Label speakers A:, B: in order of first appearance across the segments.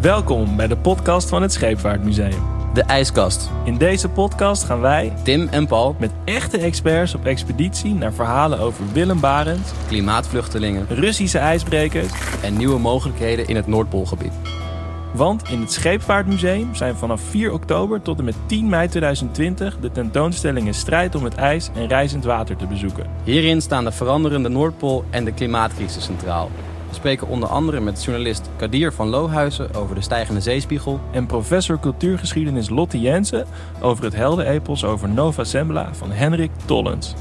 A: Welkom bij de podcast van het Scheepvaartmuseum.
B: De IJskast.
A: In deze podcast gaan wij
B: Tim en Paul,
A: met echte experts op expeditie naar verhalen over Willem Barend,
B: klimaatvluchtelingen
A: Russische ijsbrekers.
B: en nieuwe mogelijkheden in het Noordpoolgebied.
A: Want in het Scheepvaartmuseum zijn vanaf 4 oktober tot en met 10 mei 2020 de tentoonstellingen Strijd om het IJs en Reizend Water te bezoeken.
B: Hierin staan de veranderende Noordpool en de klimaatcrisis centraal. We spreken onder andere met journalist Kadir van Lohuizen over de stijgende zeespiegel.
A: En professor cultuurgeschiedenis Lotte Jensen over het heldenepos over Nova Zembla van Henrik Tollens.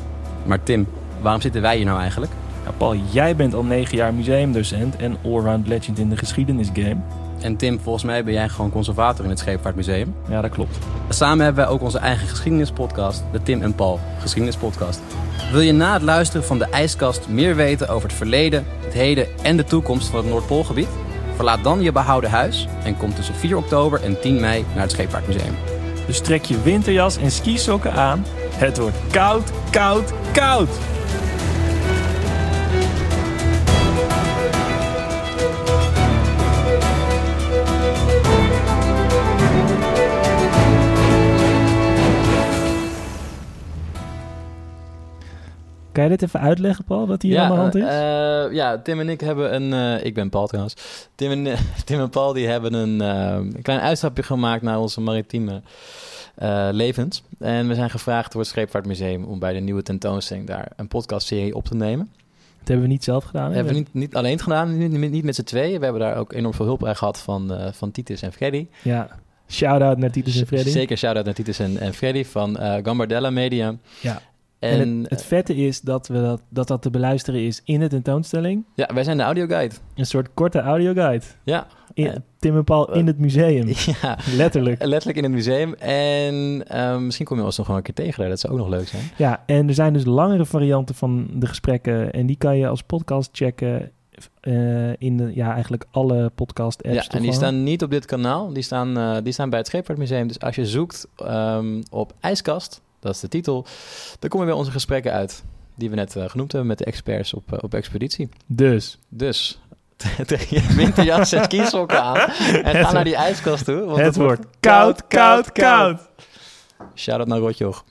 B: Maar Tim, waarom zitten wij hier nou eigenlijk?
A: Ja, Paul, jij bent al 9 jaar museumdocent en allround legend in de geschiedenisgame.
B: En Tim, volgens mij ben jij gewoon conservator in het Scheepvaartmuseum.
A: Ja, dat klopt.
B: Samen hebben wij ook onze eigen geschiedenispodcast, de Tim en Paul Geschiedenispodcast. Wil je na het luisteren van de IJskast meer weten over het verleden, het heden en de toekomst van het Noordpoolgebied? Verlaat dan je behouden huis en kom tussen 4 oktober en 10 mei naar het Scheepvaartmuseum.
A: Dus trek je winterjas en skisokken aan. Het wordt koud, koud, koud! Kan je dit even uitleggen, Paul, wat hier aan de hand is?
C: eh, eh, ja, Tim en ik hebben een... eh, ik ben Paul trouwens. Tim en, Tim en Paul die hebben een, eh, een klein uitstapje gemaakt naar onze maritieme eh, levens. En we zijn gevraagd door het Scheepvaartmuseum om bij de nieuwe tentoonstelling daar een podcastserie op te nemen.
A: Oh, dat hebben we niet zelf gedaan.
C: Dat hebben we niet, niet alleen gedaan, niet, niet- niet met z'n tweeën. We hebben daar ook enorm veel hulp bij gehad van, eh, van Titus en Freddy.
A: Ja. Shout-out naar Titus en Freddy.
C: Zeker shout-out naar Titus en, en Freddy van eh, Gambardella Media.
A: Ja.
C: En, eh,
A: En, het, het vette is dat, we dat, dat dat te beluisteren is in de tentoonstelling.
C: eh, ja, wij zijn de audioguide.
A: Een soort korte audioguide.
C: Ja. Eh,
A: In, Tim en Paul in het museum.
C: ja.
A: Letterlijk.
C: Letterlijk in het museum. En ehm, misschien kom je ons nog wel een keer tegen daar. Dat zou ook nog leuk zijn.
A: Ja, en er zijn dus langere varianten van de gesprekken. En die kan je als podcast checken. eh, in de, ja, eigenlijk alle podcast-apps.
C: ja, en
A: toch
C: die
A: wel?
C: staan niet op dit kanaal. Die staan, eh, die staan bij het Scheepvaartmuseum. Dus als je zoekt ehm, op IJskast, dat is de titel, dan kom je bij onze gesprekken uit. Die we net eh, genoemd hebben met de experts op, eh, op expeditie.
A: Dus,
C: Dus trek je winterjas en kiesokken aan. En
A: Het
C: ga naar die ijskast toe. Want
A: het
C: dat
A: wordt koud, koud, koud.
C: Shout-out naar Rotjoch.